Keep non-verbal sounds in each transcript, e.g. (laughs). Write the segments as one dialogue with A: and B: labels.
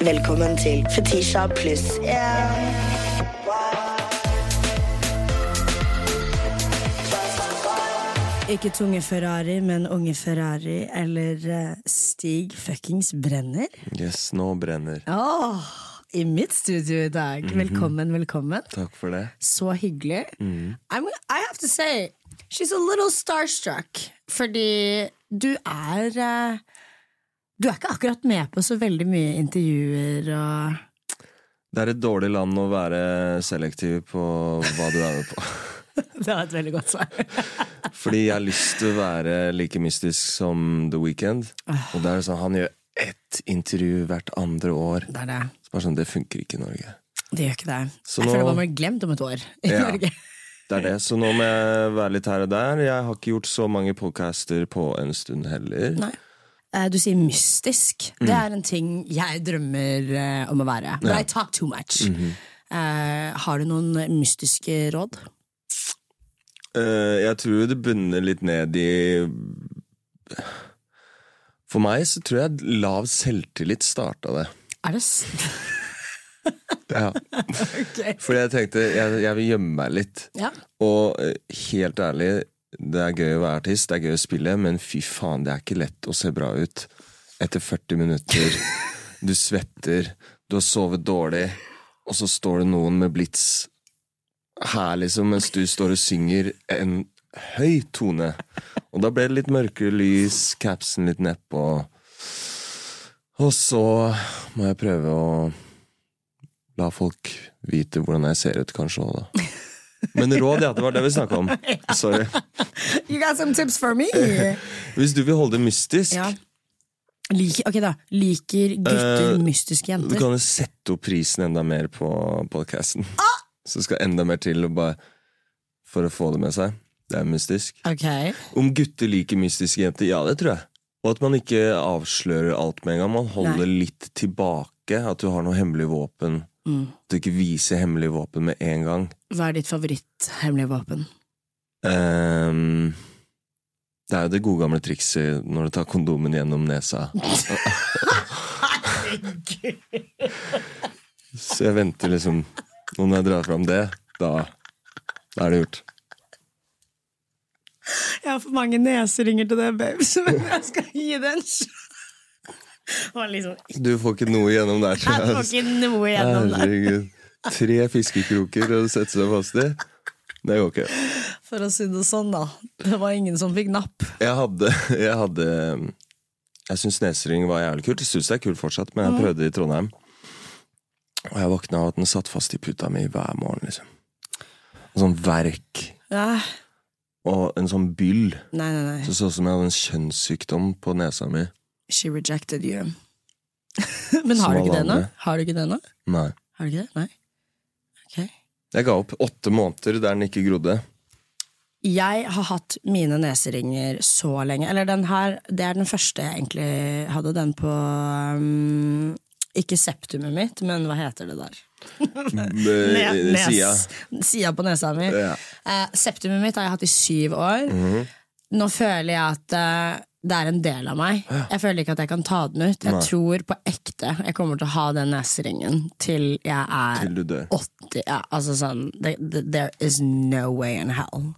A: Velkommen til Fetisha pluss en.
B: Ikke tunge Ferrari, men unge Ferrari eller eh, Stig fuckings Brenner.
C: Yes, nå brenner.
B: Åh, I mitt studio i dag. Velkommen, velkommen.
C: Takk for det.
B: Så hyggelig. I'm, I have to say, she's a little starstruck. Fordi du er eh, Du er ikke akkurat med på så veldig mye intervjuer og
C: Det er et dårlig land å være selektiv på hva du er med på. (laughs)
B: Det var et veldig godt svar.
C: Fordi jeg har lyst til å være like mystisk som The Weeknd. Og det er sånn, han gjør ett intervju hvert andre år.
B: Det er det.
C: Så bare sånn, det funker ikke i Norge.
B: Det gjør ikke det.
C: Så
B: jeg føler
C: nå-
B: bare man blir glemt om et år i
C: Ja.
B: Norge.
C: Det er det, Så nå må jeg være litt her og der. Jeg har ikke gjort så mange podcaster på en stund heller.
B: Nei. Eh, Du sier mystisk. Det
C: Mm.
B: er en ting jeg drømmer eh, om å være. But I talk too much.
C: Mm-hmm.
B: Eh, har du noen mystiske råd?
C: Eh, jeg tror det bunner litt ned i For meg så tror jeg lav selvtillit starta det.
B: Er det s... (laughs)
C: Ja.
B: Ok.
C: Fordi jeg tenkte jeg, jeg vil gjemme meg litt.
B: Ja.
C: Og eh, helt ærlig, det er gøy å være artist, det er gøy å spille, men fy faen, det er ikke lett å se bra ut etter 40 minutter. Du svetter, du har sovet dårlig, og så står det noen med blits her, liksom, mens du står og synger en høy tone. Og da ble det litt mørkere lys, capsen litt nedpå. Og så må jeg prøve å la folk vite hvordan jeg ser ut, kanskje òg, da. Men råd, ja. Det var det vi snakka om. Sorry.
B: You got some tips for
C: (laughs)
B: me!
C: Hvis du vil holde det mystisk,
B: ja. Liker, ok da, liker gutter
C: Eh,
B: mystiske
C: du
B: jenter?
C: kan jo sette opp prisen enda mer på podcasten. Så skal enda mer til og bare for å få det med seg. Det er mystisk.
B: Ok,
C: Om gutter liker mystiske jenter? Ja, det tror jeg. Og at man ikke avslører alt med en gang. Man holder litt tilbake. At du har noe hemmelig våpen. At du ikke viser hemmelig våpen med en gang.
B: Hva er ditt favoritthemmelige våpen?
C: Ehm, det er jo det gode gamle trikset når du tar kondomen gjennom nesa. Så jeg venter liksom Og når jeg drar fram det, da, da er det gjort.
B: Jeg har for mange neseringer til det, babe, (laughs) så jeg skal gi det en (laughs) sjanse. Det var liksom
C: Du får ikke noe gjennom der, tror
B: Jeg får
C: jeg.
B: ikke noe gjennom der.
C: Herregud. Tre fiskekroker å sette seg fast i. Det går ikke.
B: For å si det sånn, da. Det var ingen som fikk napp.
C: Jeg hadde Jeg, hadde, jeg syns nesering var jævlig kult. Jeg syns det er kult fortsatt, men
B: Mm.
C: jeg prøvde det i Trondheim. Og jeg våkna av at den satt fast i puta mi hver morgen. liksom En sånn verk
B: Ja.
C: og en sånn byll.
B: Nei, nei, nei.
C: Så det så ut som jeg hadde en kjønnssykdom på nesa mi.
B: She rejected you. (laughs) Men
C: Som
B: har du ikke
C: alle
B: det nå?
C: andre.
B: Har du ikke det nå?
C: Nei.
B: Har du ikke det? Nei? Ok.
C: Jeg ga opp åtte måneder der den
B: (laughs)
C: ikke grodde.
B: Jeg har hatt mine neseringer så lenge. Eller den her, det er den første jeg egentlig hadde. Den på um, Ikke septumet mitt, men hva heter det der?
C: Med
B: Nes-
C: Eh, Sida.
B: Sida på nesa mi.
C: Ja.
B: Eh, septumet mitt har jeg hatt i syv år. Nå føler jeg at eh, det er en del av meg. Jeg føler ikke at jeg kan ta den ut. Jeg tror på ekte jeg kommer til å ha den neseringen til jeg er
C: Til du dør.
B: 80. Ja, altså sånn det- det- There is no way in hell.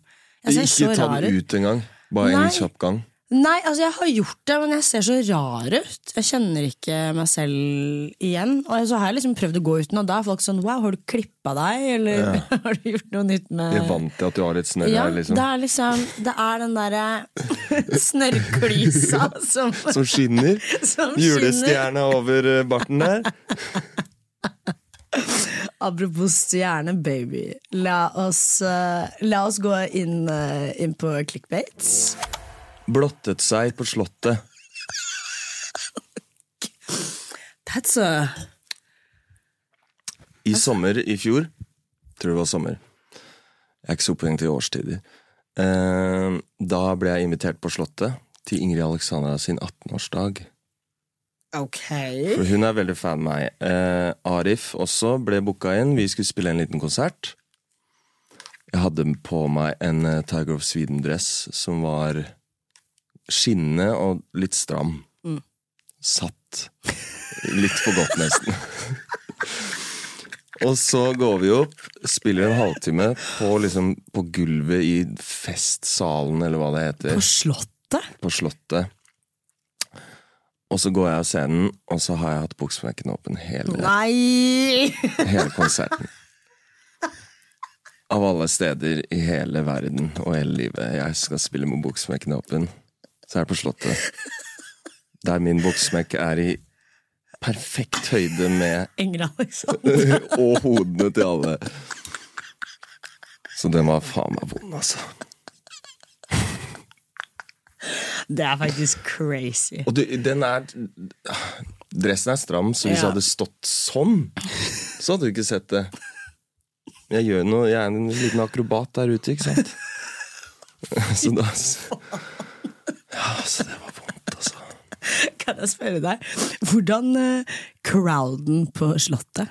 B: Jeg ser så
C: Ikke ta
B: rar ut.
C: den ut engang. Bare
B: Nei.
C: en kjapp gang.
B: Nei, altså jeg har gjort det, men jeg ser så rar ut. Jeg kjenner ikke meg selv igjen. Og så har jeg liksom prøvd å gå uten, og da er folk sånn wow, har du klippa deg, eller (laughs) har du gjort noe nytt med
C: Jeg er vant til at du har litt snørr
B: ja,
C: her, liksom.
B: det er liksom Det er den derre (laughs) snørrklysa som,
C: (laughs) Som skinner.
B: (laughs) som skinner.
C: Julestjerna over eh, barten der.
B: Apropos stjerne, baby. La oss, eh, la oss gå inn, eh, inn på clickbates.
C: blottet seg på slottet.
B: That's a
C: I
B: Altså-
C: sommer i fjor Tror det var sommer. Jeg er ikke så opphengt i årstider. Eh, da ble jeg invitert på Slottet til Ingrid Alexandra sin 18-årsdag.
B: Ok.
C: For Hun er veldig fan av meg. Eh, Arif også ble booka inn. Vi skulle spille en liten konsert. Jeg hadde på meg en eh, Tiger of Sweden-dress som var skinnende og litt stram. Satt. Litt for godt, nesten. (laughs) Og så går vi opp, spiller en halvtime på, liksom, på gulvet i festsalen, eller hva det
B: På
C: heter,
B: Slottet?
C: på Slottet. Og så går jeg av scenen, og så har jeg hatt buksemerkene åpen hele,
B: Nei! (laughs)
C: (laughs) hele konserten. Av alle steder i hele verden og hele livet jeg skal spille med buksemerkene åpen, så er det på Slottet. Der min buksemerke er i perfekt høyde med (laughs)
B: Ingrid Alexander.
C: og hodene til alle. Så den var faen meg vond, altså.
B: Det er faktisk crazy.
C: Og du, den er Dressen er stram, så hvis
B: Ja.
C: jeg hadde stått sånn, så hadde du ikke sett det. Jeg gjør noe, jeg er en liten akrobat der ute, ikke sant? (laughs) Så da Ja, så det var vondt, altså.
B: Kan jeg spørre deg, hvordan eh, crowden på Slottet?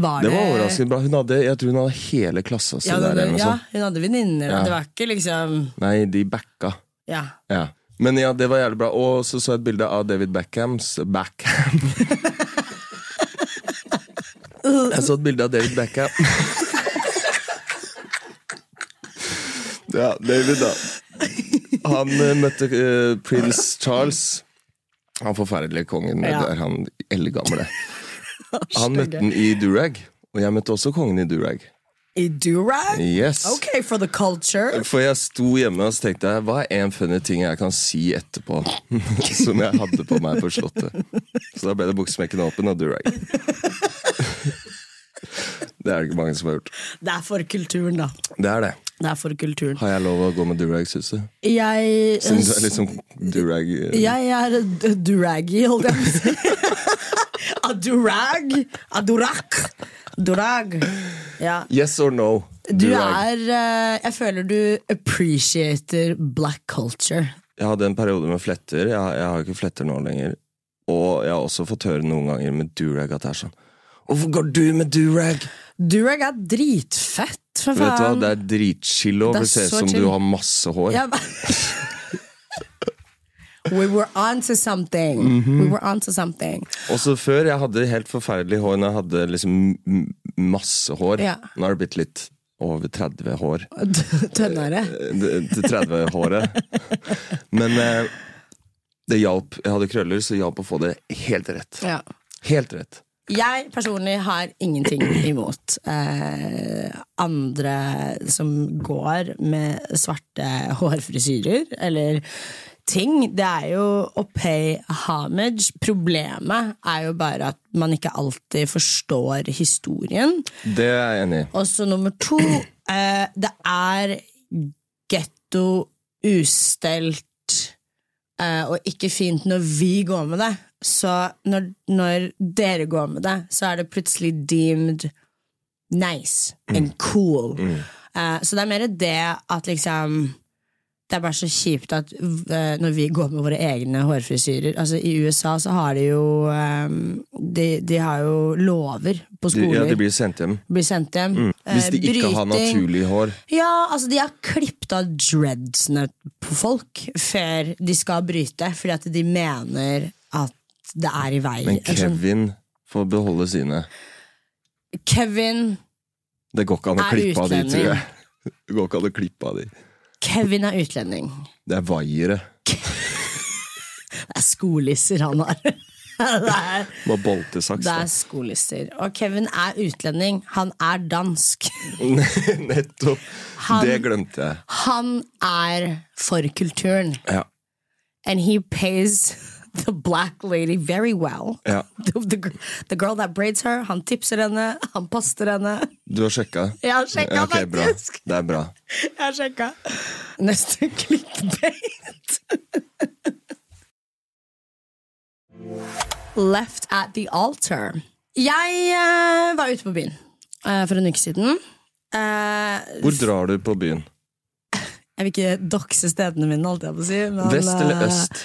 B: Var det,
C: Det var overraskende bra. Hun hadde, jeg tror hun hadde hele klassa si
B: Ja,
C: der.
B: den,
C: Eller noe
B: ja,
C: sånt.
B: hun hadde venninner, og
C: Ja.
B: det var ikke liksom
C: Nei, de backa.
B: Ja.
C: Ja. Men ja, det var jævlig bra. Og så så jeg et bilde av David Beckhams
B: (laughs)
C: Backham. Jeg så et bilde av David Beckham. Ja, David, da. Han eh, møtte eh, prins Charles. Han forferdelige kongen med
B: Ja.
C: der han
B: (laughs)
C: eldgamle. Han møtte han i durag. Og jeg møtte også kongen i durag.
B: I Durag?
C: Yes.
B: Ok, for the culture.
C: For jeg sto hjemme og så tenkte jeg, hva er en funny ting jeg kan si etterpå? (laughs) Som jeg hadde på meg på Slottet. Så da ble det buksmekken åpen og durag. (laughs) Det er det ikke mange som har gjort.
B: Det er for kulturen, da.
C: Det er det.
B: Det er for kulturen.
C: Har jeg lov å gå med durag, syns du?
B: Jeg eh,
C: Siden du er liksom durag eh,
B: Jeg er d- duraggy, holdt jeg på å si. (laughs) A durag. A durak. Durag. Ja.
C: Yes or no?
B: Du
C: Durag.
B: er eh, Jeg føler du appreciater black culture.
C: Jeg hadde en periode med fletter. Jeg, jeg har ikke fletter nå lenger. Og jeg har også fått høre noen ganger med durag at det er sånn Hvorfor går du med durag?
B: Durag er dritfett, for faen.
C: Vet du hva, Det er dritchill å
B: Det er
C: se ut
B: så
C: som
B: chill.
C: du har masse hår.
B: Ja,
C: (laughs)
B: men- We were on to something.
C: Mhm.
B: We were on to something.
C: Også før jeg hadde helt forferdelig hår når jeg hadde liksom m- masse hår.
B: Ja.
C: Nå har det blitt litt over 30 hår.
B: Tønnere.
C: Eh, det- Til 30-håret. Men eh, det hjalp. Jeg hadde krøller, så det hjalp å få det helt rett.
B: Ja.
C: Helt rett.
B: Jeg personlig har ingenting imot eh, andre som går med svarte hårfrisyrer eller ting. Det er jo å pay homage. Problemet er jo bare at man ikke alltid forstår historien.
C: Det er jeg enig i.
B: Og så nummer to eh, Det er getto ustelt eh, og ikke fint når vi går med det. Så når, når dere går med det, så er det plutselig deemed nice
C: Mm.
B: and cool. Eh, så det er mer det at liksom det er bare så kjipt at eh, når vi går med våre egne hårfrisyrer Altså I USA så har de jo eh, de, de har jo lover på
C: De,
B: skoler
C: ja, de blir sendt hjem.
B: blir sendt hjem.
C: Mm. Hvis de
B: Eh,
C: ikke har
B: bryting.
C: naturlig hår.
B: Ja, altså De har klippet av dreadsene på folk før de skal bryte, fordi at de mener at det er i vei.
C: Men
B: Eller sånn,
C: Kevin får beholde sine.
B: Kevin,
C: Det går ikke an å
B: Er
C: klippe av de,
B: utlending.
C: tror jeg. (laughs) Det går ikke an å klippe av de.
B: Kevin er utlending.
C: Det er vaiere.
B: Det er skolisser han har. (laughs) det, er,
C: Må ha boltesaks.
B: det
C: da.
B: er skolisser. Og Kevin er utlending. Han er dansk.
C: (laughs) Nettopp.
B: Han-
C: Det glemte jeg.
B: Han er for kulturen.
C: Ja.
B: And he pays the black lady very well.
C: Ja.
B: (laughs) The, the, gr- the girl that braids her, han tipser henne, han poster henne.
C: Du har sjekka?
B: Jeg har sjekka,
C: Ja, ok, bra.
B: faktisk.
C: Det er bra.
B: Jeg har sjekka. Neste (laughs) clickbait. Left at the altar. Jeg eh, var ute på byen eh, for en uke siden. Eh,
C: Hvor drar du på byen?
B: jeg vil ikke dokse stedene mine, holdt jeg på å si. Men,
C: Vest eller
B: eh,
C: øst?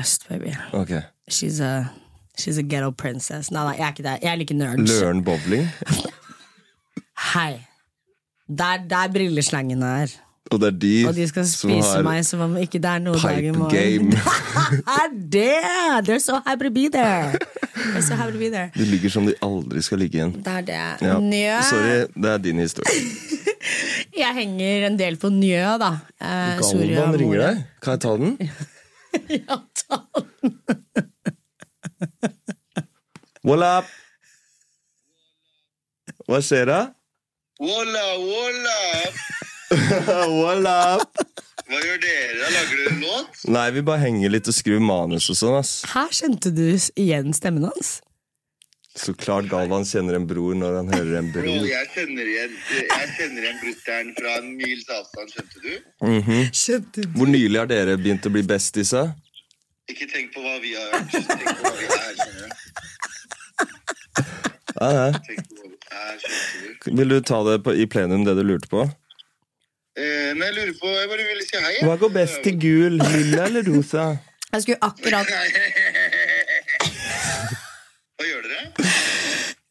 B: Øst, baby.
C: Ok.
B: She's a, she's a ghetto princess. Nei, nei, jeg er ikke det. Jeg er like nerd.
C: Løren bowling?
B: Hei. Det er der brilleslengene er.
C: Og det er de,
B: Og de skal
C: som
B: spise
C: har
B: meg som om ikke det er noe dag i
C: pipe
B: morgen.
C: game.
B: (laughs) Er det! They're so happy to be there! They're so happy to be there.
C: De ligger som de aldri skal ligge igjen.
B: Det er det.
C: Ja.
B: Njø.
C: Sorry, det er din historie.
B: Jeg henger en del på Njø, da. Eh, Soria
C: Galvan ringer
B: Moria.
C: deg. Kan jeg ta den?
B: (laughs) Ja, ta den.
C: What up? Hva skjer da?
D: Walla, walla!
C: What up?
D: Hva gjør dere? Lager dere en låt?
C: Nei, vi bare henger litt og skriver manus og sånn, ass.
B: Her kjente du s- igjen stemmen hans.
C: Så klart Galvan kjenner en bror når han hører en
D: Bro,
C: bror.
D: jeg kjenner igjen, jeg kjenner igjen brutter'n fra en mils avstand, skjønte du?
B: Kjente du?
C: Hvor nylig har dere begynt å bli bestisa?
D: Ikke tenk på hva vi har hørt, tenk på hva vi er, skjønner du?
C: Ja, ja.
D: Tenk på hva vi er, skjønte du?
C: Vil du ta det på, i plenum, det du lurte på?
D: Eh, nei, jeg lurer på, jeg bare ville si hei. jeg.
C: Hva går best til gul, lilla eller rosa?
B: Jeg skulle akkurat
D: Hva gjør dere?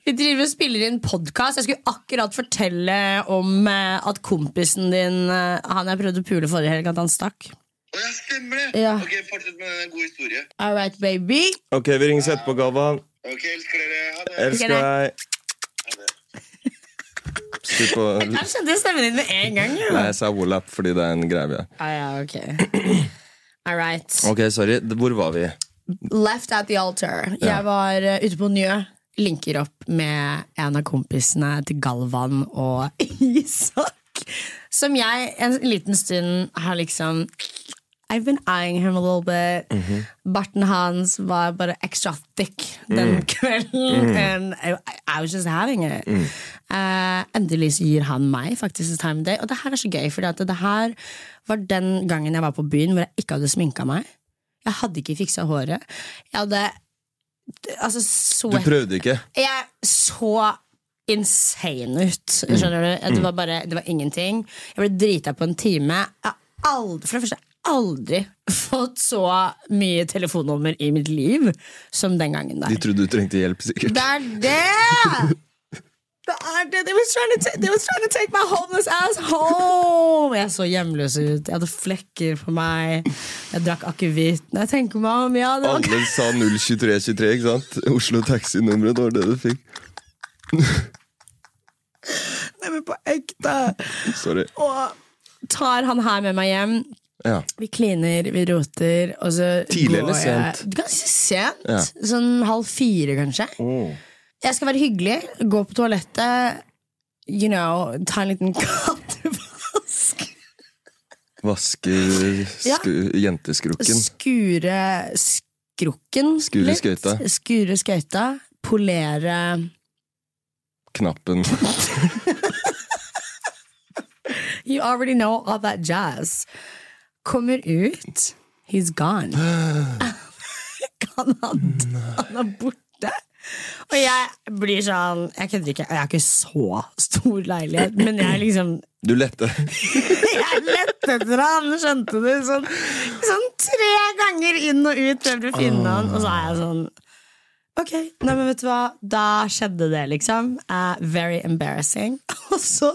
B: Vi driver og spiller inn podkast. Jeg skulle akkurat fortelle om eh, at kompisen din, eh, han jeg prøvde å pule forrige helg, at han stakk.
D: Å, ja, stemmer det!
B: Ja.
D: Ok, fortsett med en god historie.
B: All right, baby.
C: Ok, vi ringes etterpå, Galvan.
D: Ok, elsker dere, ha det.
C: Elsker deg.
D: Ha det.
C: Skru på
B: Jeg kjente stemmen din med en gang. jo.
C: Nei, jeg sa Wallap fordi det er en greie vi har.
B: Ah, ja, ok. (clears throat) All right.
C: Ok, sorry. D- Hvor var vi?
B: Left at the altar.
C: Ja.
B: Jeg var eh, ute på Njø. Linker opp med en av kompisene til Galvan og (laughs) Isak. Som jeg en liten stund har liksom I've been eyeing him a little bit. Barten hans var bare extra thick den kvelden. And I, I was just having it. Eh, endelig så gir han meg faktisk et time of day. Og det her er så gøy, for det her var den gangen jeg var på byen hvor jeg ikke hadde sminka meg. Jeg hadde ikke fiksa håret. Jeg hadde altså,
C: Du
B: sweat
C: prøvde ikke.
B: jeg så insane ut. Skjønner du? Det var bare det var ingenting. Jeg ble drita på en time. Jeg har aldri, for det første jeg har aldri fått så mye telefonnummer i mitt liv som den gangen der.
C: De trodde du trengte hjelp, sikkert.
B: Det er det! Det er det! They was, trying to ta- they was trying to take my homeless ass home! Jeg så hjemløs ut. Jeg hadde flekker på meg. Jeg drakk akevitt. Når jeg tenker meg om, ja, det var
C: Alle sa 02323, ikke sant? Oslo taxinummeret, det var det du fikk.
B: Nei, men (laughs) på ekte.
C: Sorry.
B: Og tar han her med meg hjem.
C: Ja.
B: Vi kliner, vi roter, og så
C: Tidlig
B: går
C: eller
B: jeg-
C: sent?
B: Ganske sent.
C: Ja.
B: Sånn halv fire, kanskje. Jeg skal være hyggelig, gå på toalettet, you know, ta en liten (laughs) kattevask.
C: Vasker sku, jenteskrukken.
B: Skure skrukken
C: Skure
B: litt.
C: skøyta.
B: Skure skøyta. Polere
C: Knappen.
B: You already know all that jazz. Kommer ut. He's gone. (laughs) Kan han, han er borte. Og jeg blir sånn Jeg kødder ikke. Jeg har ikke så stor leilighet, men jeg liksom
C: Du lette.
B: (laughs) Jeg lette etter han, skjønte du? Sånn, sånn tre ganger inn og ut prøvde å finne han, og så er jeg sånn Ok, nei, men vet du hva? Da skjedde det, liksom. Eh, very embarrassing. (laughs) Og så,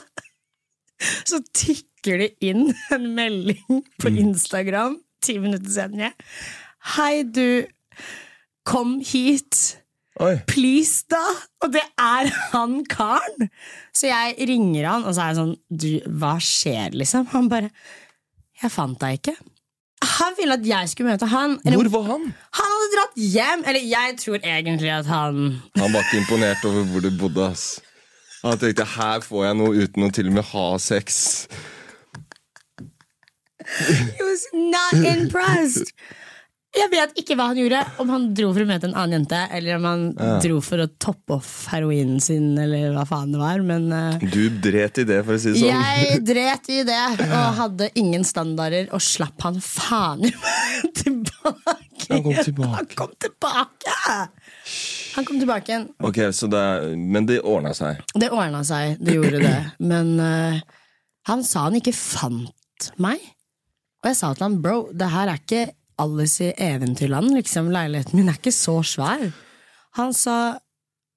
B: så tikker det inn en melding på Instagram ti minutter senere. Hei, du. Kom hit.
C: Oi.
B: Please, da! Og det er han karen! Så jeg ringer han, og så er jeg sånn Du, hva skjer, liksom? Han bare Jeg fant deg ikke. Han ville at jeg skulle møte han. Eller,
C: Hvor var han?
B: han hadde dratt hjem! Eller jeg tror egentlig at han
C: Han var ikke imponert over hvor du bodde, ass. Han tenkte 'her får jeg noe uten å til og med ha sex'.
B: He was not (laughs) impressed! Jeg vet ikke hva han gjorde. Om han dro for å møte en annen jente, eller om han dro for å toppe off heroinen sin, eller hva faen det var. Men eh,
C: Du dret i det, for å si det sånn.
B: Jeg dret i det og hadde ingen standarder, og slapp han faen i meg (laughs) tilbake.
C: Han kom tilbake.
B: Han kom tilbake! Han kom tilbake igjen.
C: Ok, så det, er- Men det ordna seg.
B: Det ordna seg, det gjorde det. Men eh, han sa han ikke fant meg. Og jeg sa til han, bro, det her er ikke Alice i Eventyrland, liksom. Leiligheten min er ikke så svær. Han sa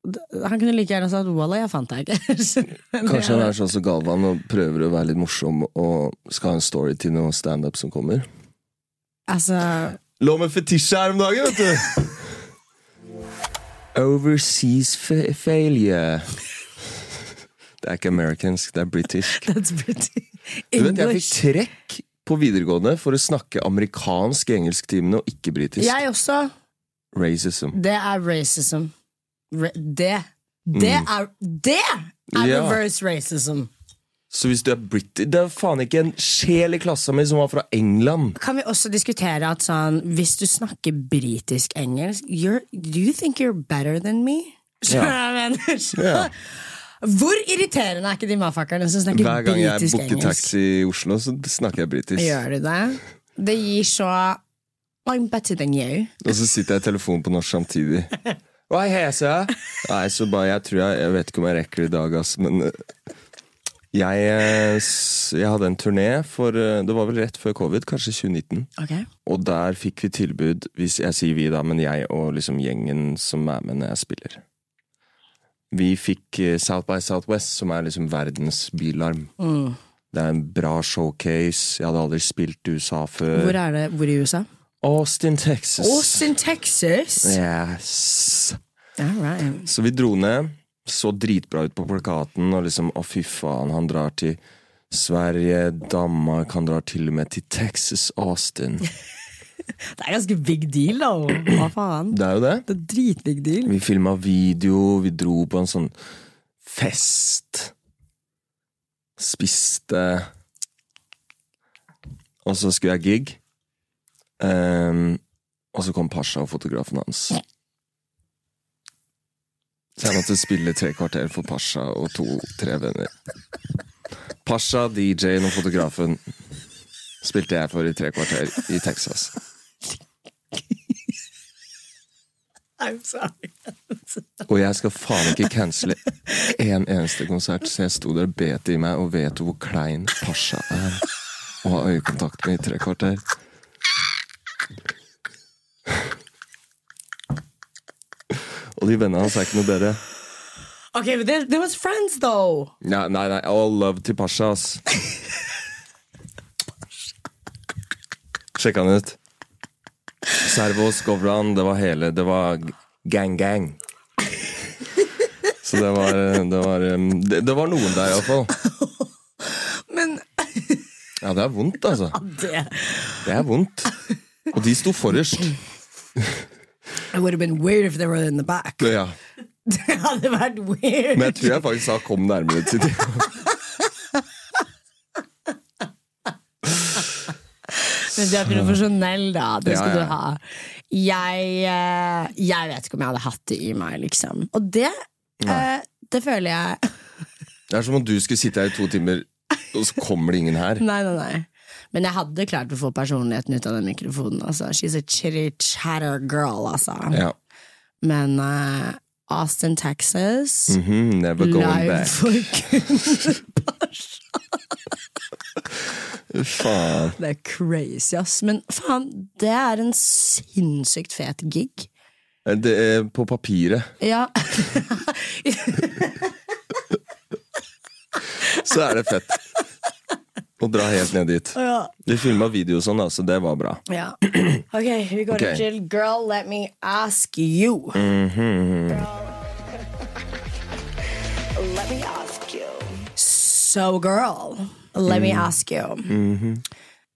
B: Han kunne like gjerne sagt 'Walla, jeg fant deg ikke'. (laughs)
C: Kanskje han er sånn som Galvan og prøver å være litt morsom og skal ha en story til noe standup som kommer.
B: Altså,
C: Lå med fetisje her om dagen, vet du! Overseas fa- failure. Det er ikke amerikansk, det er britisk.
B: that's pretty
C: Du vet, jeg fikk
B: English.
C: trekk på videregående for å snakke amerikansk i engelsktimene og ikke britisk.
B: Jeg også.
C: Racism.
B: Det er racism. Ra det. Det er Det er
C: Mm. Ja.
B: reverse racism.
C: Så hvis du er briti Det er faen ikke en sjel i klassa mi som var fra England.
B: Kan vi også diskutere at sånn Hvis du snakker britisk engelsk you're, Do you think you're better than me? Skjønner du hva jeg mener?
C: (laughs) Ja.
B: Hvor irriterende er ikke de mafakkerne som snakker
C: Hver gang jeg
B: britisk
C: booker
B: engelsk?
C: taxi i Oslo, så snakker jeg britisk.
B: Gjør du det? Det gir så I'm better than you.
C: Og så sitter jeg i telefonen på norsk samtidig. Hva heter jeg? Nei, så bare jeg tror jeg Jeg vet ikke om jeg rekker det i dag, ass, men eh, jeg, eh, s- jeg hadde en turné for eh, Det var vel rett før covid, kanskje 2019.
B: Ok?
C: Og der fikk vi tilbud, hvis jeg sier vi da, men jeg og liksom gjengen som er med når jeg spiller. Vi fikk eh, South by Southwest, som er liksom verdens bilarm.
B: Mm.
C: Det er en bra showcase. Jeg hadde aldri spilt i USA
B: Hvor
C: før.
B: er det? Hvor i USA?
C: Austin, Texas.
B: Austin, Texas!
C: Yes.
B: All right.
C: Så vi dro ned, så dritbra ut på plakaten, og liksom å, fy faen, han drar til Sverige, Danmark, han drar til og med til Texas, Austin.
B: Det er ganske big deal, da. Hva faen?
C: Det er jo det.
B: Det er dritbig deal.
C: Vi filma video, vi dro på en sånn fest. Spiste. Og så skulle jeg gig. Ehm, og så kom Pasha og fotografen hans. Så jeg måtte spille tre kvarter for Pasha og to-tre venner. Pasha, DJ-en og fotografen spilte jeg for i tre kvarter i Texas.
B: I'm sorry.
C: Og jeg skal faen ikke cancele en eneste konsert, så jeg sto der og bet i meg og vet hvor klein Pasha er. Og har øyekontakt med i tre kvarter. Og de vennene hans er ikke noe bedre.
B: Okay, but there, there was friends, though.
C: Nei, nei, nei, all love til Pasha, ass. Sjekk han ut. Servo, Skovran, det var hele Det var gang-gang. Så det var Det var, um, det, det var noen der, iallfall.
B: Men
C: Ja, det er vondt, altså.
B: det
C: Det er vondt. Og de sto forrest.
B: It would have been weird if they were in the back.
C: Ja.
B: (laughs) det hadde vært weird.
C: Men jeg tror jeg faktisk sa 'kom nærmere' til de.
B: Men du er profesjonell, da. Det
C: Ja,
B: skal
C: ja.
B: du ha. Jeg, eh, jeg vet ikke om jeg hadde hatt det i meg, liksom. Og det, eh, det føler jeg (laughs)
C: Det er som om du skulle sitte her i to timer, og så kommer det ingen her.
B: Nei, nei, nei. Men jeg hadde klart å få personligheten ut av den mikrofonen. Altså. She's a chitty chatter girl, altså.
C: Ja.
B: Men eh, Austin, Texas
C: Mhm, never going
B: Live
C: back.
B: for kun
C: Faen.
B: (laughs) Det er crazy, ass. Men faen, det er en sinnssykt fet gig.
C: Eh, Det er på papiret.
B: Ja. (laughs)
C: så er det fett. (laughs) Å dra helt ned dit.
B: ja.
C: Vi filma video og sånn, da, så det var bra.
B: Ok, vi går
C: Ok.
B: til Girl, let me ask you.
A: Let me ask you.
B: So girl, let
C: Mm.
B: me ask you.
C: Mm-hmm.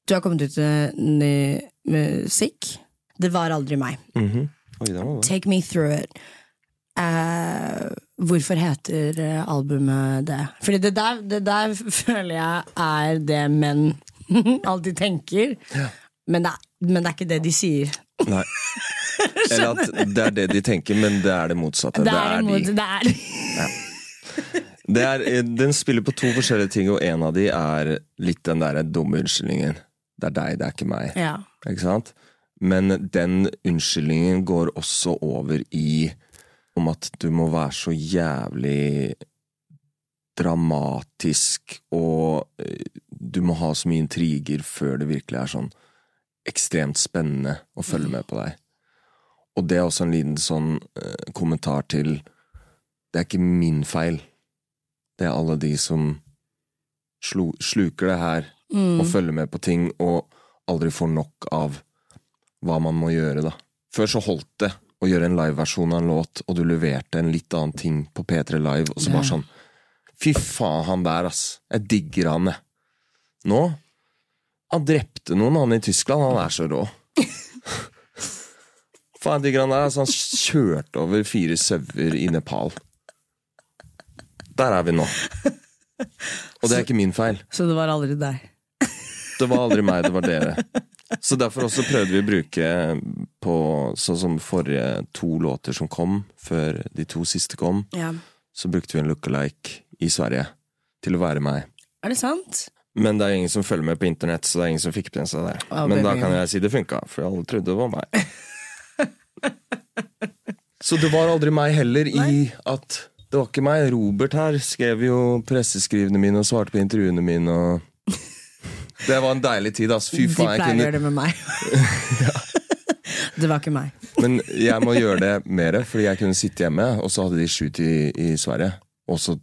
B: Du har kommet ut med ny musikk. Det var aldri meg.
C: Oi, det var bra.
B: Take me through it. Eh, hvorfor heter eh, albumet det? Fordi det der, det der (laughs) føler jeg er det menn (laughs) alltid tenker. Men, det er, men det er ikke det de sier.
C: (laughs) Nei. Eller at det er det de tenker, men det er det motsatte. Det er
B: Derimot,
C: de.
B: det er (laughs)
C: Det er, eh, den spiller på to forskjellige ting, og en av de er litt den derre dumme unnskyldningen. Det er deg, det er ikke meg.
B: ja.
C: Ikke sant? Men den unnskyldningen går også over i om at du må være så jævlig dramatisk, og eh, du må ha så mye intriger før det virkelig er sånn ekstremt spennende å følge med på deg. Og det er også en liten sånn eh, kommentar til Det er ikke min feil. Det er alle de som slu, sluker det her og følger med på ting og aldri får nok av hva man må gjøre, da. Før så holdt det å gjøre en liveversjon av en låt, og du leverte en litt annen ting på P3 Live, og så bare sånn Fy faen, han der, ass. Jeg digger han, jeg. Nå Han drepte noen, han i Tyskland. Han er så rå. faen, jeg digger han der. Altså, han kjørte over fire sauer i Nepal. Der er vi nå. Og det er ikke min feil.
B: Så det var aldri deg.
C: Det var aldri meg, det var dere. Så derfor også prøvde vi å bruke på sånn som forrige to låter som kom, før de to siste kom,
B: Ja.
C: så brukte vi en lookalike i Sverige til å være meg.
B: Er det sant?
C: Men det er ingen som følger med på internett, så det er ingen som fikk med seg det.
B: Ja,
C: Men da
B: baby.
C: kan jeg si det funka, for alle trodde det var meg. (laughs) Så det var aldri meg heller i at det var ikke meg. Robert her skrev jo presseskrivene mine og svarte på intervjuene mine og (laughs) Det var en deilig tid, ass. Fy
B: De pleier
C: faen. Jeg
B: å
C: kunne
B: gjøre det med
C: (laughs)
B: meg. (laughs) det var ikke meg.
C: Men jeg må gjøre det mer, fordi jeg kunne sitte hjemme, og så hadde de shoot i, i Sverige. Og så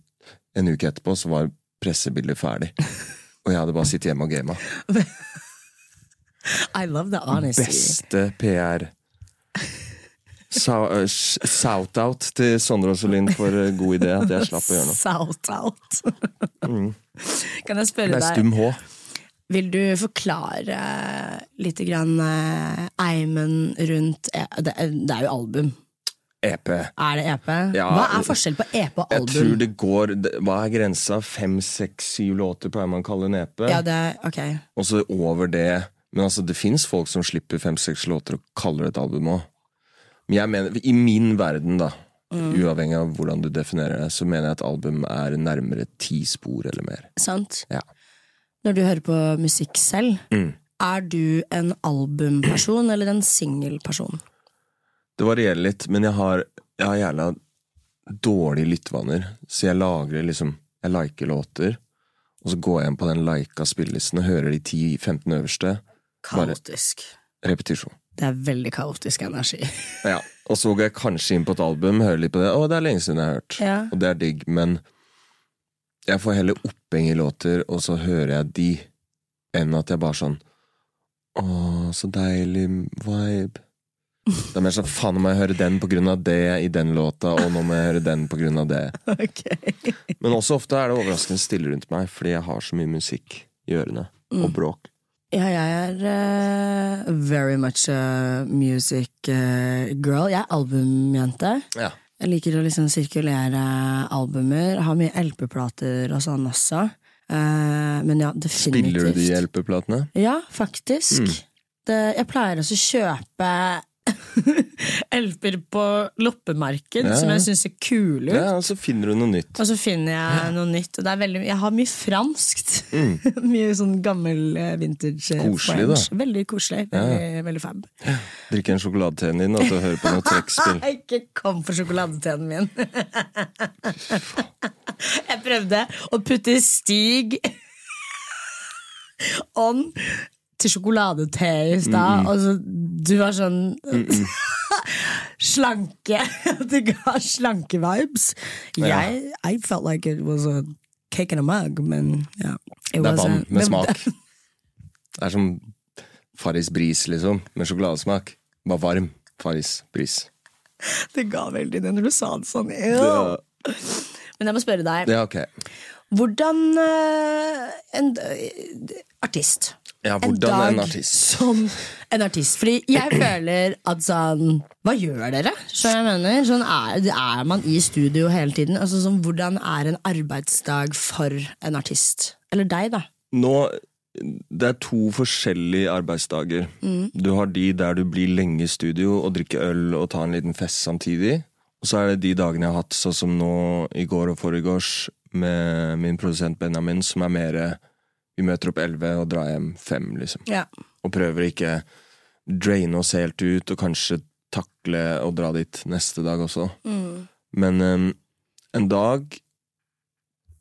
C: en uke etterpå så var pressebildet ferdig. Og jeg hadde bare sittet hjemme og gama.
B: I love the honesty.
C: Beste PR. Sa- eh, s- Shout-out til Sondre og Solin for eh, god idé at jeg slapp å
B: (laughs)
C: gjøre noe. Mm.
B: Salt out. (laughs) Kan jeg
C: Det
B: spørre
C: er
B: deg,
C: stum H.
B: vil du forklare litt grann eh, eimen rundt eh, det, er- det er jo album.
C: EP.
B: Er det EP?
C: Ja.
B: Hva er forskjell på EP og
C: E Jeg tror
B: album?
C: det går det- Hva er grensa? Fem, seks, syv låter pleier man å kalle en EP.
B: Ja, det er, ok.
C: Og så over det Men altså, det fins folk som slipper fem-seks låter og kaller det et album òg. Men jeg mener, i min verden, da,
B: Mm.
C: uavhengig av hvordan du definerer det, så mener jeg at album er nærmere ti spor eller mer.
B: Sant?
C: Ja.
B: Når du hører på musikk selv,
C: Mm.
B: er du en albumperson eller en singelperson?
C: Det varierer litt, men jeg har, jeg har jævla dårlige lyttevaner, så jeg lagrer liksom Jeg liker låter, og så går jeg inn på den lika spillelisten og hører de 10-15 øverste. Bare
B: Kaotisk.
C: repetisjon.
B: Det er veldig kaotisk
C: (laughs)
B: energi.
C: Ja, Og så går jeg kanskje inn på et album, hører litt på det. Å, det er lenge siden jeg har hørt.
B: Ja.
C: Og det er digg, men jeg får heller oppheng i låter, og så hører jeg de, enn at jeg bare sånn Å, så deilig vibe. Det er mer sånn faen, nå må jeg høre den på grunn av det i den låta, og nå må jeg høre den på grunn av det.
B: Ok.
C: Men også ofte er det overraskende stille rundt meg, fordi jeg har så mye musikk i ørene. Og bråk.
B: Ja, jeg er eh, very much a music eh, girl. Jeg er albumjente.
C: Ja.
B: Jeg liker å liksom sirkulere albumer. Har mye LP-plater og sånn også. Eh, men ja, definitivt.
C: Spiller du de LP-platene?
B: Ja, faktisk.
C: Mm.
B: Det, jeg pleier også å kjøpe (laughs) LP-er på loppemarked,
C: Ja,
B: som
C: ja.
B: jeg syns ser kule ut.
C: Ja, og så finner du noe nytt.
B: Og så finner jeg noe nytt. Og det er veldig, jeg har mye franskt. (laughs) mye sånn gammel eh, vintage. eh,
C: Mm. Koselig, da.
B: French. Veldig koselig. Veldig, veldig fab.
C: Drikker en sjokoladeteen din og så hører på noe trekkspill.
B: Ikke kom for sjokoladetennen min. Jeg prøvde å putte Stig on til sjokoladete i stad, og så du var sånn (laughs) Slanke. (laughs) Du ga slanke vibes. Jeg I felt like it was a cake in a mug, men ja. It
C: Det er
B: was a-
C: vann
B: (laughs)
C: med
B: men-
C: smak. Det er som Farris bris, liksom, med sjokoladesmak. Bare varm Farris bris.
B: Det ga veldig det når du sa det sånn.
C: Ja,
B: Men jeg må spørre deg.
C: ja ok.
B: Hvordan eh, en eh, artist
C: Ja, hvordan en artist?
B: som en artist. Fordi jeg føler at sånn Hva gjør dere? Så jeg mener, sånn er, er man i studio hele tiden? Altså sånn, Hvordan er en arbeidsdag for en artist? Eller deg, da.
C: Nå, det er to forskjellige arbeidsdager. Du har de der du blir lenge i studio og drikker øl og tar en liten fest samtidig. Og så er det de dagene jeg har hatt, sånn som nå i går og foregårs, med min produsent Benjamin, som er mer Vi møter opp elleve og drar hjem fem, liksom.
B: Ja.
C: og prøver ikke draine oss helt ut, og kanskje takle å dra dit neste dag også. Men em, en dag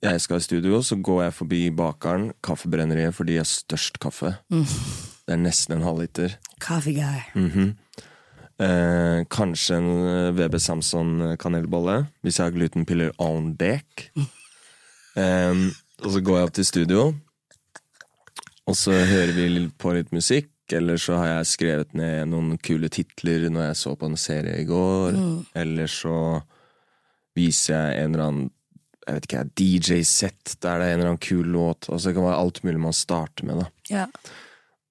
C: jeg skal i studio, så går jeg forbi bakeren, kaffebrenneriet, for de har størst kaffe. Det er nesten en halvliter.
B: Coffee guy.
C: Mhm. Eh, kanskje en eh, VB Samson-kanelbolle, hvis jeg har glutenpiller on deck. Em, og så går jeg opp til studio, og så hører vi litt på litt musikk. Eller så har jeg skrevet ned noen kule titler når jeg så på en serie i går. Eller så viser jeg en eller annen jeg vet ikke, DJ-sett der det er en eller annen kul låt. Og så kan det være alt mulig man starter med. da
B: Ja.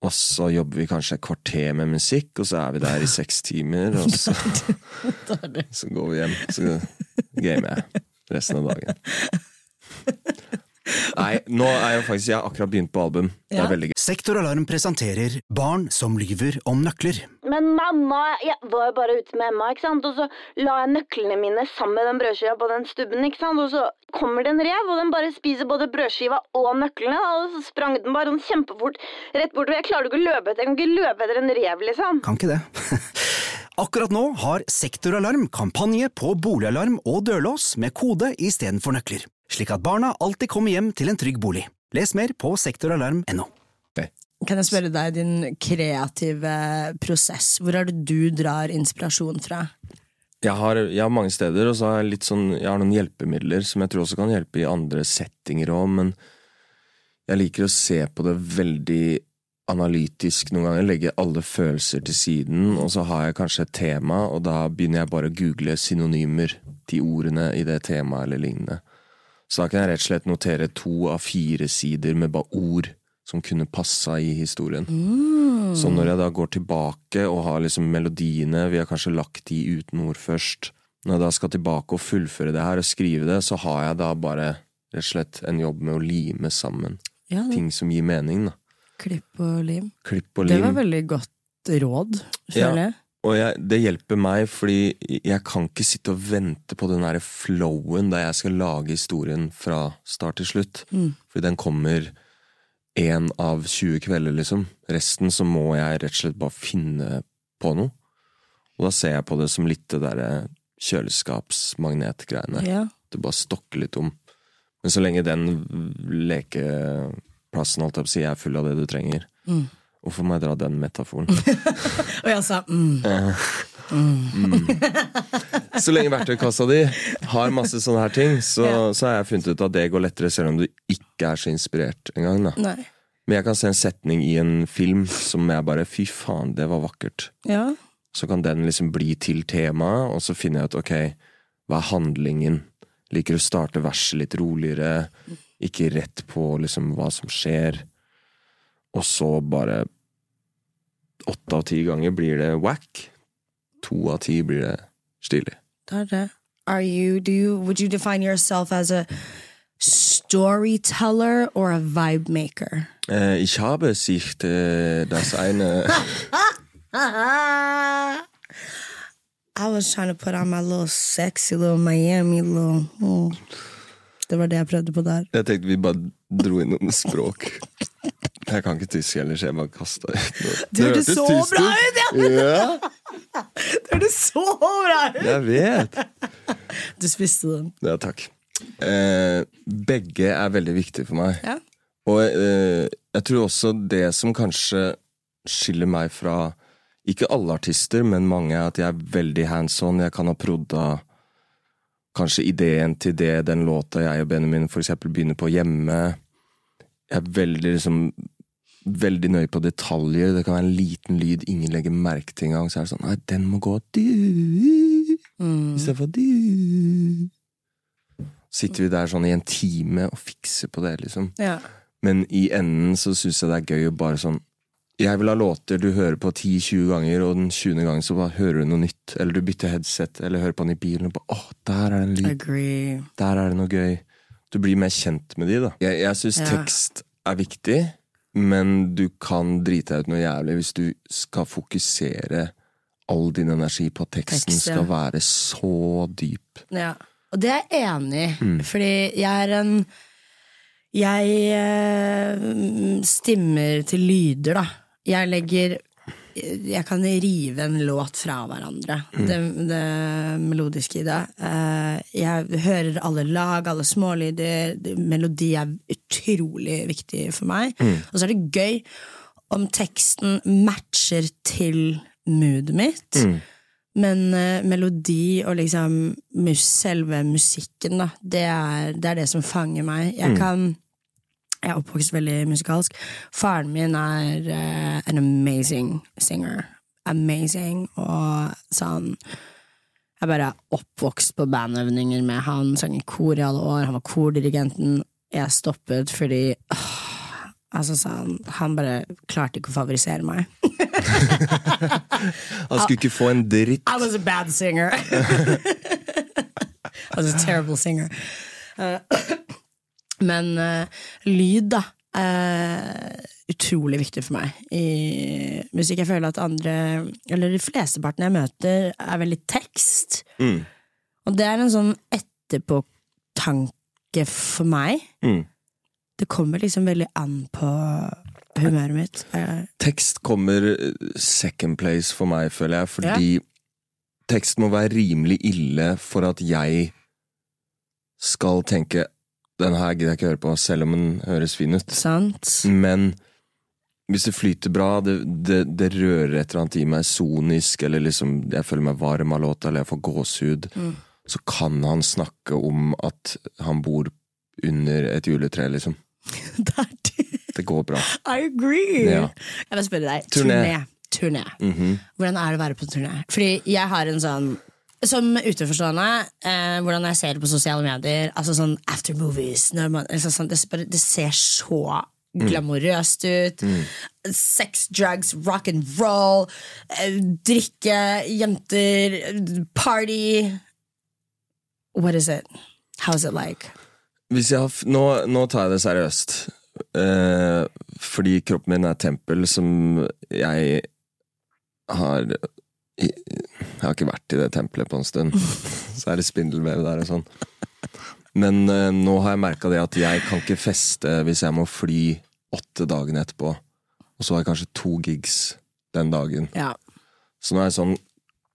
C: og så jobber vi kanskje et kvarter med musikk, og så er vi der i seks timer, og så, så går vi hjem. Så gamer jeg resten av dagen. Nei, nå er jeg faktisk Jeg har akkurat begynt på album. Det
B: Ja.
C: er veldig gøy.
E: Sektoralarm presenterer Barn som lyver om nøkler.
F: Men mamma, jeg var jo bare ute med Emma, ikke sant? og så la jeg nøklene mine sammen med den brødskiva på den stubben, ikke sant? og så kommer det en rev, og den bare spiser både brødskiva og nøklene, og så sprang den bare sånn kjempefort rett bortover. Jeg klarer jo ikke å løpe etter, jeg kan ikke løpe etter en rev, liksom.
E: Kan ikke det. (laughs) Akkurat nå har Sektoralarm kampanje på boligalarm og dørlås med kode istedenfor nøkler, slik at barna alltid kommer hjem til en trygg bolig. Les mer på sektoralarm.no.
B: Kan jeg spørre deg din kreative prosess? Hvor er det du drar inspirasjon fra?
C: Jeg har, jeg har mange steder, og så har jeg litt sånn Jeg har noen hjelpemidler som jeg tror også kan hjelpe i andre settinger òg, men jeg liker å se på det veldig analytisk noen ganger. Legge alle følelser til siden, og så har jeg kanskje et tema, og da begynner jeg bare å google synonymer til ordene i det temaet eller lignende. Så da kan jeg rett og slett notere to av fire sider med bare ord som kunne passa i historien. Så
B: Mm.
C: når jeg da går tilbake og har liksom melodiene, vi har kanskje lagt de uten ord først, når jeg da skal tilbake og fullføre det her og skrive det, så har jeg da bare rett og slett en jobb med å lime sammen
B: Ja,
C: ting som gir mening. da.
B: Klipp og lim.
C: Klipp og
B: Det var
C: lim.
B: veldig godt råd, føler
C: Ja.
B: jeg.
C: Og jeg, det hjelper meg, fordi jeg kan ikke sitte og vente på den der flowen der jeg skal lage historien fra start til slutt. Fordi den kommer én av 20 kvelder, liksom. Resten så må jeg rett og slett bare finne på noe. Og da ser jeg på det som litt det derre kjøleskapsmagnetgreiene.
B: Ja.
C: Du bare stokker litt om. Men så lenge den lekeplassen holdt jeg på å si, er full av det du trenger, hvorfor må jeg dra den metaforen?
B: Og jeg sa mm.
C: Mm. Så lenge verktøykassa di har masse sånne her ting, så, så har jeg funnet ut at det går lettere, selv om du ikke er så inspirert engang. Da.
B: Nei.
C: Men jeg kan se en setning i en film som jeg bare Fy faen, det var vakkert.
B: Ja.
C: Så kan den liksom bli til temaet, og så finner jeg ut ok, hva er handlingen? Liker å starte verset litt roligere, ikke rett på liksom hva som skjer. Og så bare Åtte av ti ganger blir det whack. To av ti blir det stilig.
B: Det er det. Are you, do you, would you define yourself as a storyteller or a vibe maker?
C: Äh, ich habe sich äh, das (laughs) eine.
B: I was trying to put on my little sexy little Miami little mm. Det var det jeg prøvde på der.
C: Jeg tenkte vi bare dro innom språk. Jeg kan ikke tysk heller, så jeg bare kasta ut noe.
B: Det hørtes så
C: tysk
B: bra ut! Ja.
C: Ja,
B: Det hørtes så bra ut!
C: jeg vet!
B: Du spiste den.
C: Ja, takk. Eh, begge er veldig viktige for meg.
B: Ja.
C: Og eh, jeg tror også det som kanskje skiller meg fra ikke alle artister, men mange, er at jeg er veldig hands on. Jeg kan ha prodda kanskje ideen til det, den låta jeg og Benjamin for eksempel begynner på hjemme. Jeg er veldig liksom Veldig nøye på detaljer. Det kan være en liten lyd ingen legger merke til engang. Så er det sånn Nei, den må gå du istedenfor du. Sitter vi der sånn i en time og fikser på det, liksom.
B: Ja.
C: Men i enden så syns jeg det er gøy å bare sånn Jeg vil ha låter du hører på 10-20 ganger, og den 20. gangen så bare hører du noe nytt. Eller du bytter headset, eller hører på den i bilen og bare Åh, der er det en lyd.
B: Agree.
C: Der er det noe gøy. Du blir mer kjent med de, da. Jeg, jeg syns
B: Ja.
C: tekst er viktig, men du kan drite deg ut noe jævlig hvis du skal fokusere all din energi på at teksten
B: Tekst, ja.
C: skal være så dyp.
B: Ja. Og det er jeg enig i, fordi jeg er en Jeg eh, stimmer til lyder, da. Jeg legger Jeg kan rive en låt fra hverandre, det, det melodiske i det. Eh, jeg hører alle lag, alle smålyder. Melodi er utrolig viktig for meg. Og så er det gøy om teksten matcher til moodet mitt. Men eh, melodi og liksom mus, selve musikken, da, det er, det er det som fanger meg. Jeg kan jeg er oppvokst veldig musikalsk. Faren min er eh, an amazing singer. Amazing. Og sånn Jeg bare er oppvokst på bandøvninger med han. Sang i kor i alle år. Han var kordirigenten. Jeg stoppet fordi åh, Altså sånn, Han bare klarte ikke å favorisere meg.
C: Han skulle ikke få en dritt.
B: I was a bad singer. (laughs) I was a terrible singer. Eh, (coughs) Men eh, lyd, da. eh, utrolig viktig for meg i musikk. Jeg føler at andre, eller de flesteparten jeg møter, er veldig tekst. Og det er en sånn etterpåtanke for meg.
C: Mm.
B: Det kommer liksom veldig an på humøret mitt. Eh,
C: Tekst kommer eh, second place for meg, føler jeg, fordi tekst må være rimelig ille for at jeg skal tenke den her gidder jeg ikke høre på, selv om den høres fin ut.
B: sant? (laughs)
C: Men hvis det flyter bra, det, det, det rører et eller annet i meg sonisk, eller liksom jeg føler meg varm av låta, eller jeg får gåsehud, så kan han snakke om at han bor under et juletre, liksom.
B: Det er det.
C: Det går bra.
B: I agree!
C: Ja.
B: Jeg vil spørre deg.
C: Turné.
B: Turné. Mhm. Turné. Hvordan er det å være på turné? Fordi jeg har en sånn som utenforstående, eh, hvordan jeg ser det på sosiale medier, altså sånn after movies når man, altså sånn, det, s- bare- det ser så glamorøst ut. Sex, drugs, rock and roll, eh, drikke, jenter, eh, party. What is it? How's it like?
C: Hvis jeg har, f- nå, nå tar jeg det seriøst. Eh, fordi kroppen min er et tempel som jeg har Jeg har ikke vært i det tempelet på en stund. Så er det spindelvev der og sånn. Men eh, nå har jeg merka det at jeg kan ikke feste hvis jeg må fly åtte dagen etterpå. Og så har jeg kanskje to gigs den dagen.
B: Ja.
C: Så nå er jeg sånn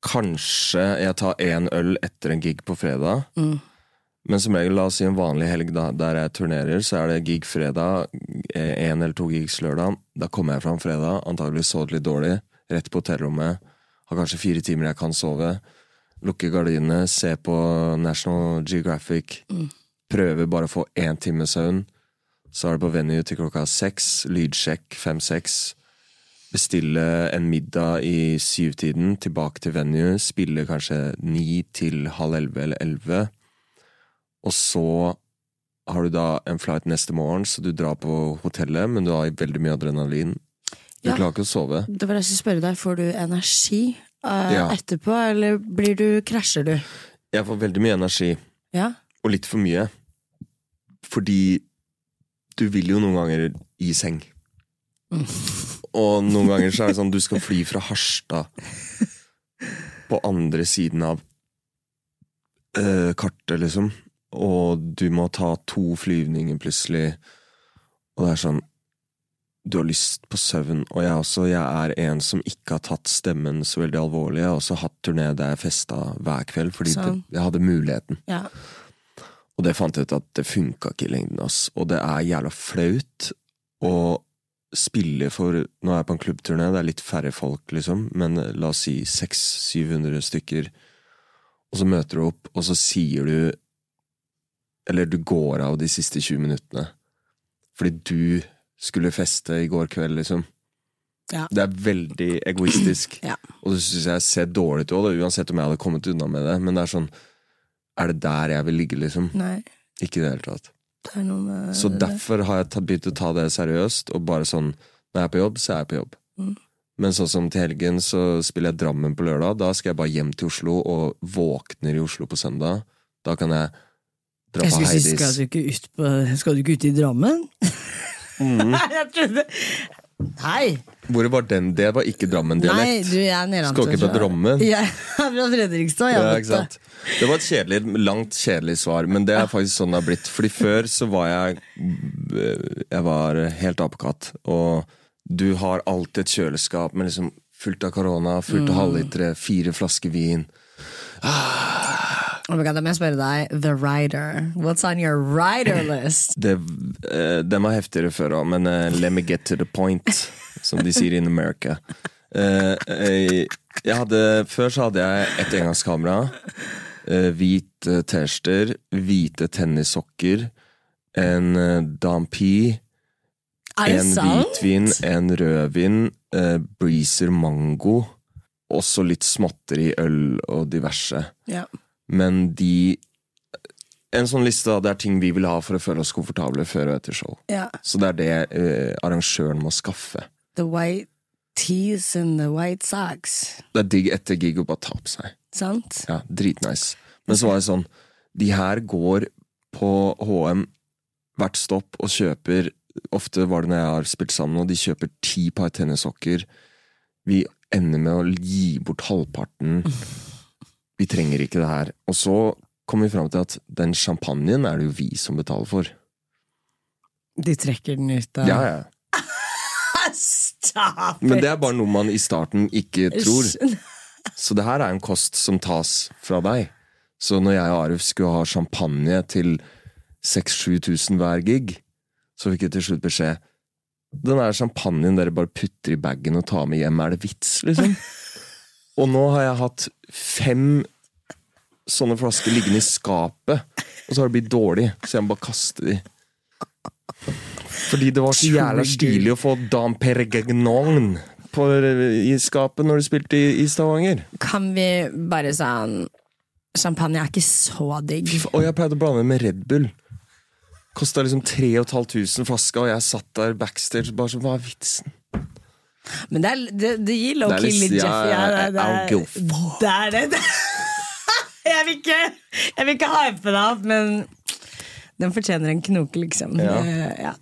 C: Kanskje jeg tar én øl etter en gig på fredag. Men som regel, la oss si en vanlig helg da, der jeg turnerer, så er det gig fredag, én eller to gigs lørdag. Da kommer jeg fram fredag, antagelig sovet litt dårlig, rett på hotellrommet. Har kanskje fire timer jeg kan sove. Lukke gardinene, se på National Geographic. Prøver bare å få én time søvn. Så er det på venue til klokka seks. Lydsjekk fem-seks bestille en middag i syvtiden, tilbake til venue, spille kanskje ni til halv elleve eller elleve. Og så har du da en flight neste morgen, så du drar på hotellet, men du har veldig mye adrenalin. Du
B: Ja.
C: klarer ikke å sove.
B: Det var det jeg skulle spørre deg. Får du energi eh,
C: Ja.
B: etterpå, eller blir du, krasjer du?
C: Jeg får veldig mye energi,
B: Ja.
C: og litt for mye. Fordi du vil jo noen ganger i seng. Og noen ganger så er det sånn du skal fly fra Harstad på andre siden av eh, kartet, liksom. Og du må ta to flyvninger plutselig. Og det er sånn Du har lyst på søvn. Og jeg også. Jeg er en som ikke har tatt stemmen så veldig alvorlig. Jeg har også hatt turné der jeg festa hver kveld, fordi det,
B: Sånn.
C: jeg hadde muligheten.
B: ja.
C: Og det fant jeg ut at det funka ikke i lengden, ass. Og det er jævla flaut å spille for Nå er jeg på en klubbturné, det er litt færre folk, liksom, men eh, la oss si 600-700 stykker. Og så møter du opp, og så sier du Eller du går av de siste 20 minuttene. Fordi du skulle feste i går kveld, liksom.
B: Ja.
C: Det er veldig egoistisk.
B: (clears throat) Ja.
C: Og det syns jeg ser dårlig ut òg, uansett om jeg hadde kommet unna med det. Men det er sånn Er det der jeg vil ligge, liksom?
B: Nei,
C: Ikke i det hele tatt.
B: det er noe med
C: Så derfor har jeg tatt- begynt å ta det seriøst, og bare sånn Når jeg er på jobb, så er jeg på jobb.
B: Mm.
C: Men sånn som til helgen så spiller jeg Drammen på lørdag. Da skal jeg bare hjem til Oslo, og våkner i Oslo på søndag. Da kan jeg dra
B: Jeg
C: på
B: skulle si,
C: Heidis.
B: skal du ikke ut, på, skal du ikke ut i Drammen?
C: Mm.
B: Nei, (laughs) jeg trodde Nei,
C: Hvor var den? Det var ikke
B: nei
C: Drammen-dialekt.
B: du, jeg er nedantil.
C: Skal ikke på Drammen.
B: (laughs) Jeg er fra Fredrikstad, jeg
C: Ja,
B: vet
C: ikke sant? Det var et kjedelig, langt kjedelig svar, men det er faktisk sånn det har blitt. Fordi før så var jeg eh, Jeg var helt apekatt. Og du har alltid et kjøleskap med liksom fullt av korona, fullt av halvlitere, fire flasker vin.
B: Oh my God, da må jeg spørre deg, The Rider. What's on your rider list?
C: Det, eh, den var heftigere før òg, men eh, let me get to the point, som de sier in America. Eh, eh, jeg hadde, før så hadde jeg et engangskamera, eh, hvite T-skjorter, hvite tennissokker, en eh, Dampi,
B: Er det
C: en
B: sant?
C: hvitvin, en rødvin, eh, Breezer mango, og så litt småtteri, øl og diverse.
B: Ja.
C: Men de En sånn liste da, det er ting vi vil ha for å føle oss komfortable før og etter show.
B: ja.
C: Så det er det eh, arrangøren må skaffe.
B: The white tees and the white socks.
C: Det er digg etter gig å bare ta på seg.
B: Sant?
C: Ja, Dritnice. Men så var det sånn De her går på HM hvert stopp og kjøper Ofte var det når jeg har spilt sammen, og de kjøper ti par tennissokker. Vi ender med å gi bort halvparten. Vi trenger ikke det her. Og så kom vi fram til at den champagnen er det jo vi som betaler for.
B: De trekker den ut av
C: Ja, ja.
B: Stopp
C: Men
B: Ah, it!
C: det er bare noe man i starten ikke tror. Så det her er en kost som tas fra deg. Så når jeg og Arif skulle ha champagne til 6000-7000 hver gig, så fikk jeg til slutt beskjed Den der champagnen dere bare putter i bagen og tar med hjem, er det vits, liksom? Og nå har jeg hatt fem sånne flasker liggende i skapet, og så har det blitt dårlig, så jeg må bare kaste de. Fordi det var så jævla stilig å få Dam Peregagnon på, eh, i skapet når du spilte i, i Stavanger.
B: Kan vi bare sånn Champagne er ikke så digg.
C: Fy fa- Og jeg pleide å blande det med Red Bull. Kosta liksom 3500 flaska, og jeg satt der backstage bare sånn Hva er vitsen?
B: Men det, er, det, det gir low
C: Det er
B: key
C: litt-
B: litt Jeff.
C: ja,
B: Ja, det,
C: I-
B: det,
C: I'll
B: er-
C: give fuck.
B: det er det. (laughs) det- Jeg vil ikke, jeg vil ikke hype deg opp, men den fortjener en knoke, liksom.
C: Ja.
B: Det- ja.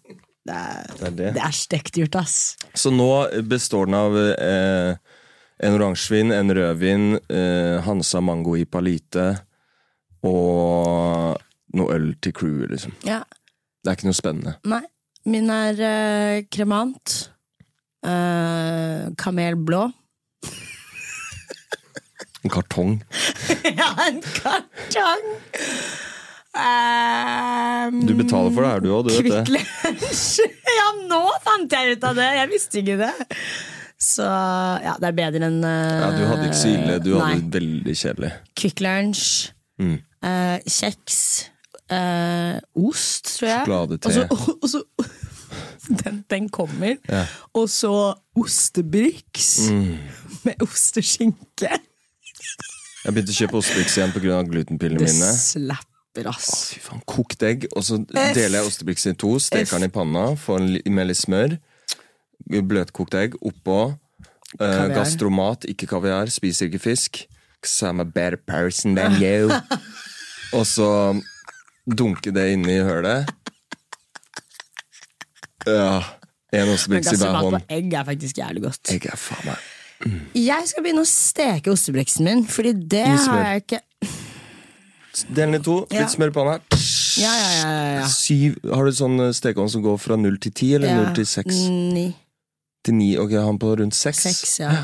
B: Det, er,
C: Det er det.
B: det er stekt gjort, ass.
C: Så nå består den av eh, en oransjevin, en rødvin, eh, Hansa Mango i Palite og noe øl til crewet, liksom.
B: Ja.
C: Det er ikke noe spennende.
B: Nei. Min er eh, kremant. eh, kamelblå.
C: En kartong.
B: (laughs) ja, en kartong! Um,
C: Du betaler for det her, du òg, du vet
B: Kvikk
C: det.
B: Lunsj! (laughs) Ja, nå fant jeg ut av det! Jeg visste ikke det. Så ja, det er bedre enn eh,
C: Ja, du hadde ikke så ille. Du hadde Mm.
B: Nei.
C: det veldig kjedelig.
B: Kvikk Lunsj, eh, kjeks, eh, ost, tror jeg.
C: Sjokoladete.
B: Og så, (laughs) og så den, den kommer. Og så ostebriks
C: Mm.
B: (laughs) med ost og skinke.
C: Jeg begynte å kjøpe ostebriks igjen pga. glutenpillene
B: Det
C: mine.
B: slapper, ass.
C: Fy faen, kokt egg, og så
B: Eh,
C: deler jeg ostebriksen i to, steker den i panna, får den li- med litt smør, bløtkokt egg oppå, eh,
B: Kaviar.
C: gastromat, ikke kaviar, spiser ikke fisk, 'cause I'm a better person
B: (laughs)
C: than you. og så dunke det inni hølet. Ja, en
B: Men
C: ostebriks i hver
B: Gastromat
C: hånd.
B: på egg er faktisk jævlig godt.
C: Egg er faen meg
B: Jeg skal begynne å steke ostebriksen min, fordi det
C: Mye smør.
B: har jeg ikke
C: Del den i to,
B: Ja.
C: litt smør i panna.
B: Ja, ja, ja, ja, ja.
C: Syv, har du sånn eh, stekeovn som går fra null til ti, eller
B: Ja.
C: null til seks?
B: Ni.
C: til ni, ok, han på rundt seks.
B: Seks, ja. Eh,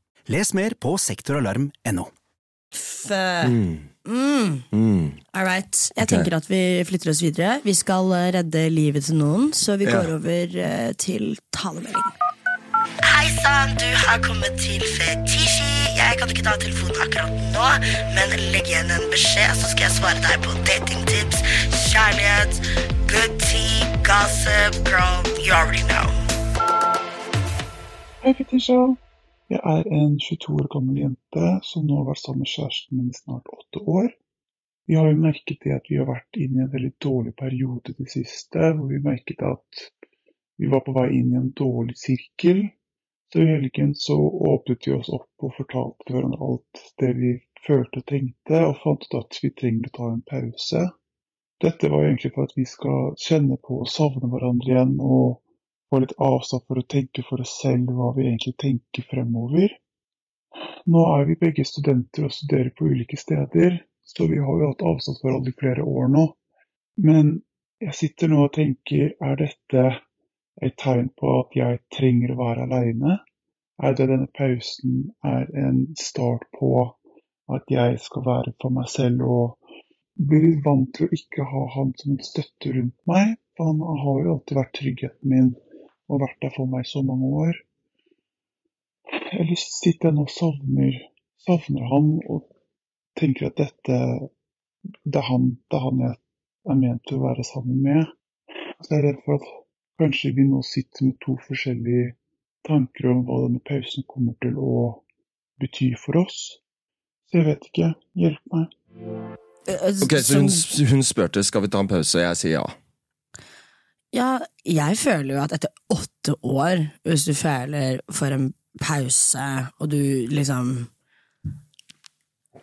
E: Les mer på sektoralarm.no.
C: Mm.
B: All right. Jeg tenker at vi flytter oss videre. Vi skal eh, redde livet til noen, så vi går over eh, til talemelding.
A: Hei sann, du har kommet til Fetishi. Jeg kan ikke ta telefonen akkurat nå, men legg igjen en beskjed, så skal jeg svare deg på datingtips, kjærlighet, good tea, gossip, girl, you already know.
G: Hei, Fetisha. Jeg er en 22 år gammel jente som nå har vært sammen med kjæresten min i snart åtte år. Vi har jo merket det at vi har vært inne i en veldig dårlig periode i det siste, hvor vi merket at vi var på vei inn i en dårlig sirkel. Så i helgen så åpnet vi oss opp og fortalte hverandre alt det vi følte og tenkte, og fant ut at vi trenger å ta en pause. Dette var jo egentlig for at vi skal kjenne på og savne hverandre igjen, og få litt avstand for å tenke for oss selv hva vi egentlig tenker fremover. Nå er vi begge studenter og studerer på ulike steder, så vi har jo hatt avstand for alle i flere år nå. Men jeg sitter nå og tenker, er dette et tegn på at jeg trenger å være aleine? Er det denne pausen er en start på at jeg skal være for meg selv og bli litt vant til å ikke ha han som en støtte rundt meg? For han har jo alltid vært tryggheten min og vært der for meg i så mange år eller sitter jeg nå og savner, savner han og tenker at dette det er, han, det er han jeg er ment til å være sammen med. Så jeg er redd for at kanskje vi nå sitter med to forskjellige tanker om hva denne pausen kommer til å bety for oss. Så jeg vet ikke. Hjelp meg.
C: Ok, Så
B: sånn-
C: hun, hun spurte skal vi ta en pause, og jeg sier ja.
B: Ja, jeg føler jo at etter åtte år, hvis du føler for en pause, og du liksom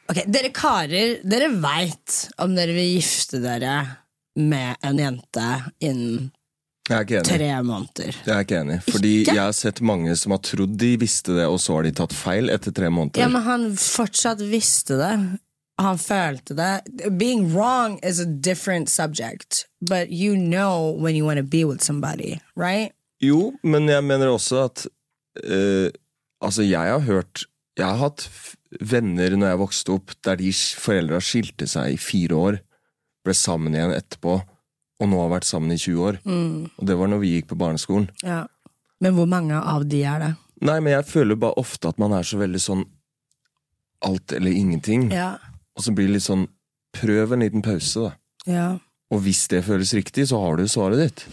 B: Ok, dere karer, dere veit om dere vil gifte dere med en jente innen
C: Jeg er ikke enig.
B: tre måneder.
C: Jeg er ikke enig, fordi
B: Ikke?
C: jeg har sett mange som har trodd de visste det, og så har de tatt feil etter tre måneder.
B: Ja, men han fortsatt visste det. Han følte det. Being wrong is a different subject, but you know when you want to be with somebody, right?
C: Jo, men jeg mener også at eh, Altså, jeg har hørt Jeg har hatt f- venner når jeg vokste opp, der de sk- foreldra skilte seg i fire år, ble sammen igjen etterpå, og nå har vært sammen i 20 år.
B: Mm.
C: Og det var når vi gikk på barneskolen.
B: Ja. Men hvor mange av de er det?
C: Nei, men jeg føler bare ofte at man er så veldig sånn alt eller ingenting,
B: Ja.
C: og så blir det litt sånn Prøv en liten pause, da.
B: ja.
C: Og hvis det føles riktig, så har du svaret ditt.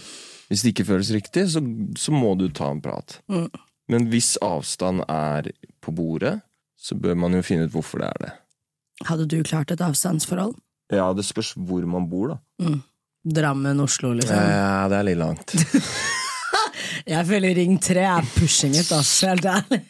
C: Hvis det ikke føles riktig, så, så må du ta en prat.
B: Mm.
C: Men hvis avstand er på bordet, så bør man jo finne ut hvorfor det er det.
B: Hadde du klart et avstandsforhold?
C: Ja, det spørs hvor man bor, da.
B: Drammen, Oslo, liksom.
C: Ja, det er litt langt. (laughs)
B: Jeg føler Ring 3 er pushing it, ass. Helt ærlig.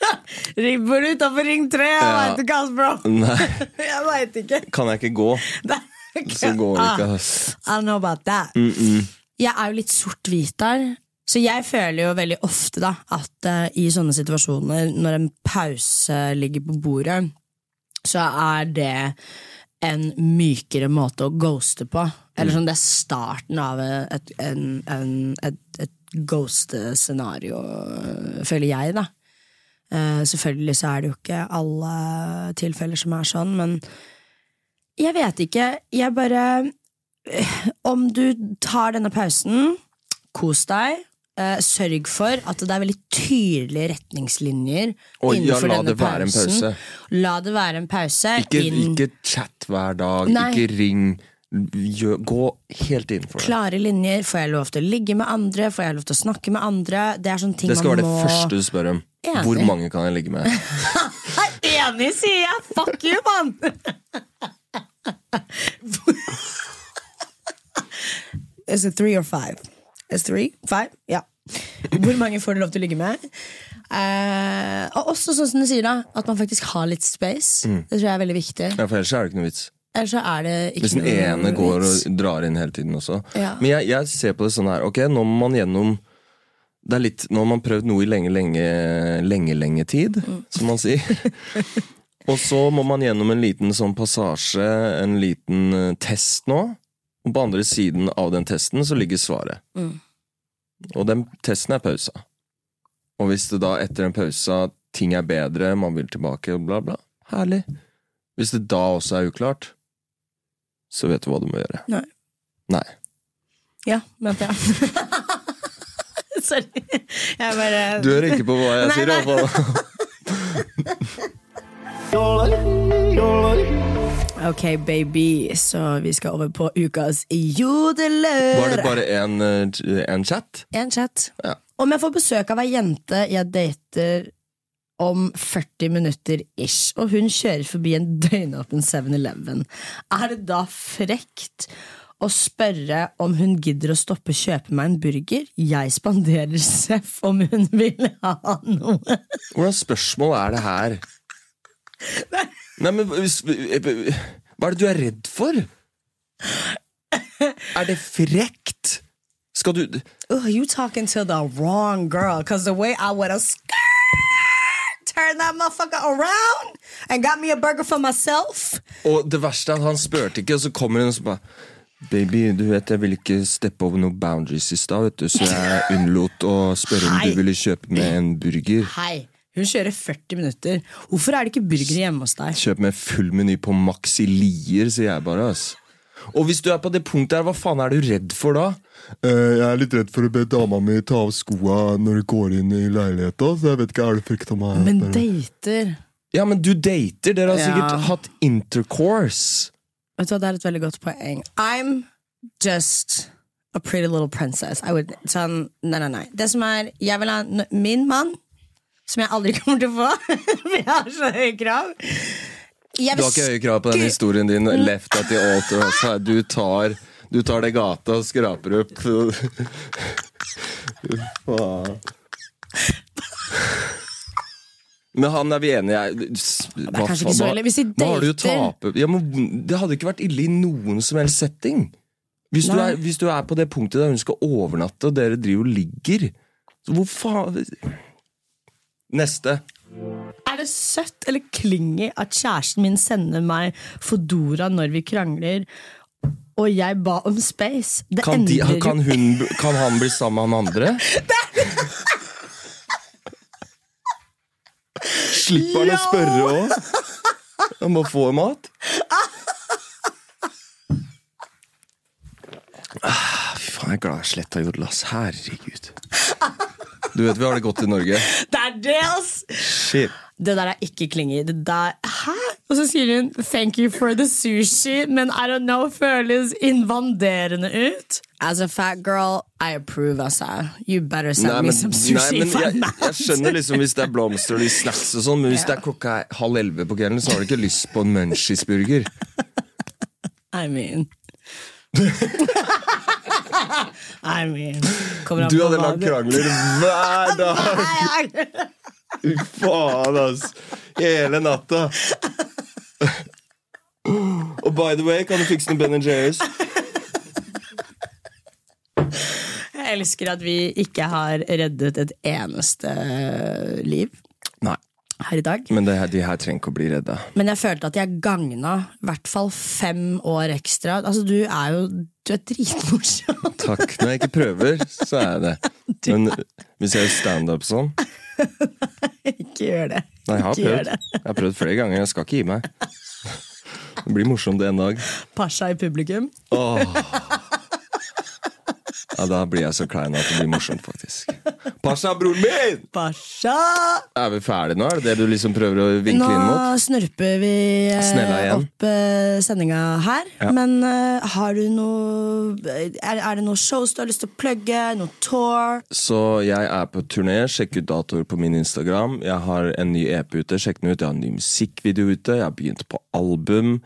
B: (laughs) Ring bor utafor Ring 3, jeg
C: Ja.
B: veit ikke, ass, bro! (laughs)
C: Nei,
B: Jeg veit ikke.
C: kan jeg ikke gå,
B: Det er ikke-
C: så går det ikke,
B: Ah,
C: ass.
B: I don't know about that.
C: Mm -mm.
B: jeg er jo litt sort-hvit der. Så jeg føler jo veldig ofte da at eh, i sånne situasjoner, når en pause ligger på bordet, så er det en mykere måte å ghoste på.
C: Mm.
B: Eller sånn, det er starten av et, en, en, et, et ghost-scenario, føler jeg, da. Eh, selvfølgelig så er det jo ikke alle tilfeller som er sånn, men jeg vet ikke. Jeg bare eh, om du tar denne pausen, kos deg. eh, Sørg for at det er veldig tydelige retningslinjer
C: Og ja,
B: innenfor
C: la
B: denne
C: det være en
B: pausen.
C: pause.
B: La det være en pause.
C: Ikke,
B: inn
C: ikke chat hver dag,
B: Nei.
C: ikke ring. Gjø, gå helt innenfor det.
B: klare linjer. Får jeg lov til å ligge med andre? Får jeg lov til å snakke med andre? Det er sånne ting
C: Det skal
B: man
C: være
B: må
C: det første du spør om.
B: Enig.
C: Hvor mange kan jeg ligge med?
B: Jeg er enig, sier jeg! Fuck you, mann! (laughs) Is it three or five? Is it three? Five? Ja. Hvor mange får du lov til å ligge med? Eh, og også sånn som du sier, da, at man faktisk har litt space.
C: Mm.
B: Det tror jeg er veldig viktig.
C: Ja, for ellers er det ikke noe vits.
B: Ellers så er det ikke
C: Hvis den
B: noe
C: ene går
B: vits.
C: og drar inn hele tiden også.
B: Ja.
C: Men jeg, jeg ser på det sånn her, ok, nå må man gjennom det er litt, Nå har man prøvd noe i lenge, lenge, lenge, lenge tid,
B: Mm.
C: som man
B: (laughs)
C: sier. og så må man gjennom en liten sånn passasje, en liten eh, test nå. Og på andre siden av den testen så ligger svaret.
B: Mm.
C: Og den testen er pausa. Og hvis det da etter en pausa ting er bedre, man vil tilbake, og bla, bla, herlig. Hvis det da også er uklart, så vet du hva du må gjøre.
B: Nei.
C: Nei.
B: Ja, (laughs) mente jeg. Sorry. Jeg bare
C: Du hører ikke på hva jeg
B: Nei,
C: sier,
B: nei. (laughs)
C: iallfall.
B: Ok, baby, så vi skal over på ukas jodelør.
C: Var det bare en, eh, en chat?
B: En chat.
C: Ja.
B: Om jeg får besøk av ei jente jeg dater om 40 minutter ish, og hun kjører forbi en døgnåpen 7-Eleven, er det da frekt å spørre om hun gidder å stoppe og kjøpe meg en burger? Jeg spanderer (laughs) seff om hun vil ha noe.
C: Hvordan spørsmål er det her? Nei, men hvis, Hva er det du er redd for? Er det frekt? Skal du
B: Ugh, you talking to the wrong girl, cause the way I would have skirt
H: turn that motherfucker around and got me a burger for myself.
C: Og det verste er at han spurte ikke, og så kommer hun og så bare Baby, du vet jeg ville ikke steppe over noen boundaries i stad, vet du, så jeg unnlot å spørre om
B: Hei.
C: du ville kjøpe med en burger.
B: Hei, hun kjører 40 minutter. Hvorfor er det ikke burger hjemme hos deg?
C: Kjøp med full meny på Max i Lier, sier jeg bare, ass. Og hvis du er på det punktet her, hva faen er du redd for da?
I: Eh, jeg er litt redd for å be dama mi ta av skoa når du går inn i leiligheta, så jeg vet ikke, er det frykta meg?
B: Men dater
C: Ja, men du dater, dere har
B: Ja.
C: sikkert hatt intercourse.
B: Vet du hva, det er et veldig godt poeng. I'm just a pretty little princess. I would, sånn, nei, nei, nei. Det som er, jeg vil ha n- min mann, som jeg aldri kommer til å få, (laughs) for jeg har så høye krav. Jeg
C: Du
B: vil
C: har ikke høye krav på den historien din. Left at the altar. Altså. Du, tar, du tar det gata og skraper opp. (laughs) Faen. Men han er vi enige i. Det
B: kanskje ikke så ille. Hvis de
C: Hva har du å
B: dater-
C: tape? Ja, men det hadde ikke vært ille i noen som helst setting. Hvis du,
B: Nei.
C: er, hvis du er på det punktet der hun skal overnatte, og dere driver og ligger så Hvor faen Neste.
B: Er det søtt eller klingy at kjæresten min sender meg Fodora når vi krangler, og jeg ba om space? Det
C: Kan, de,
B: endrer jo-
C: kan, hun, kan han bli sammen med
B: (laughs)
C: han andre? Slipper han å spørre òg? Han må få mat. Ah, Fy faen, jeg er glad jeg sletta jodel, ass. Herregud. Du vet vi har det godt i Norge.
B: Det er det, ass!
C: Shit.
B: Det der er ikke klingy. Det der Hæ? Og så sier hun 'thank you for the sushi', men I don't know, føles invaderende ut. As a fat girl, I approve, altså. You better send me some sushi.
C: nei, men
B: for
C: jeg,
B: that.
C: jeg skjønner liksom hvis det er blomster og litt snacks og sånn, men hvis det er klokka er halv elleve på kvelden, så har du ikke lyst på en munchiesburger.
B: I
C: (laughs)
B: mean I mean Kommer an
C: Du
B: på
C: hadde
B: hva
C: lagd krangler
B: (laughs)
C: hver dag!
B: Nei, jeg-
C: Fy faen, ass! Hele natta. Og by the way, kan du fikse noen Ben Jerry's?
B: Jeg elsker at vi ikke har reddet et eneste liv
C: Nei.
B: her i dag.
C: Men det her, de her trenger ikke å bli redda.
B: Men jeg følte at jeg gagna i hvert fall fem år ekstra. Altså, du er jo Du er dritmorsom. (laughs)
C: Takk. Når jeg ikke prøver, så er jeg det. Men hvis jeg gjør standup sånn
B: ikke gjør det.
C: Nei, jeg har
B: ikke gjør
C: prøvd.
B: det.
C: Jeg har prøvd flere ganger. Jeg skal ikke gi meg. Det blir morsomt en dag.
B: Pasha i publikum.
C: Åh. Ja, da blir jeg så klein at det blir morsomt, (laughs) faktisk. Pasha, broren min!
B: Pasha!
C: Er vi ferdige nå? Er det det du liksom prøver å vinkle
B: Nå
C: inn mot?
B: snurper vi eh,
C: Snella igjen.
B: opp eh, sendinga her. Men eh, har du noe er, er det noen shows du har lyst til å plugge? Noen tour?
C: Så jeg er på turné. Sjekk ut datoer på min Instagram. Jeg har en ny EP ute. Sjekk den ut. Jeg har en ny musikkvideo ute. Jeg har begynt på album.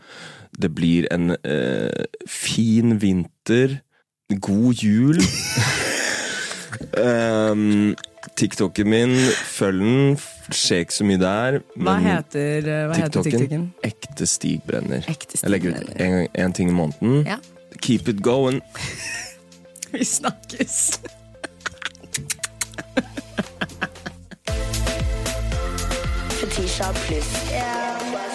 C: Det blir en eh, fin vinter. God
B: (laughs)
C: jul. um, TikToken min, følg den. Skjer ikke så mye der.
B: Hva
C: men-
B: heter, eh, hva heter TikToken?
C: TikToken. Ekte Stig Brenner.
B: Ekte Stig
C: Jeg legger ut
B: Brenner.
C: en, gang- en ting i måneden.
B: Ja.
C: Keep it going.
B: (laughs) Vi snakkes.
A: Fetisha pluss.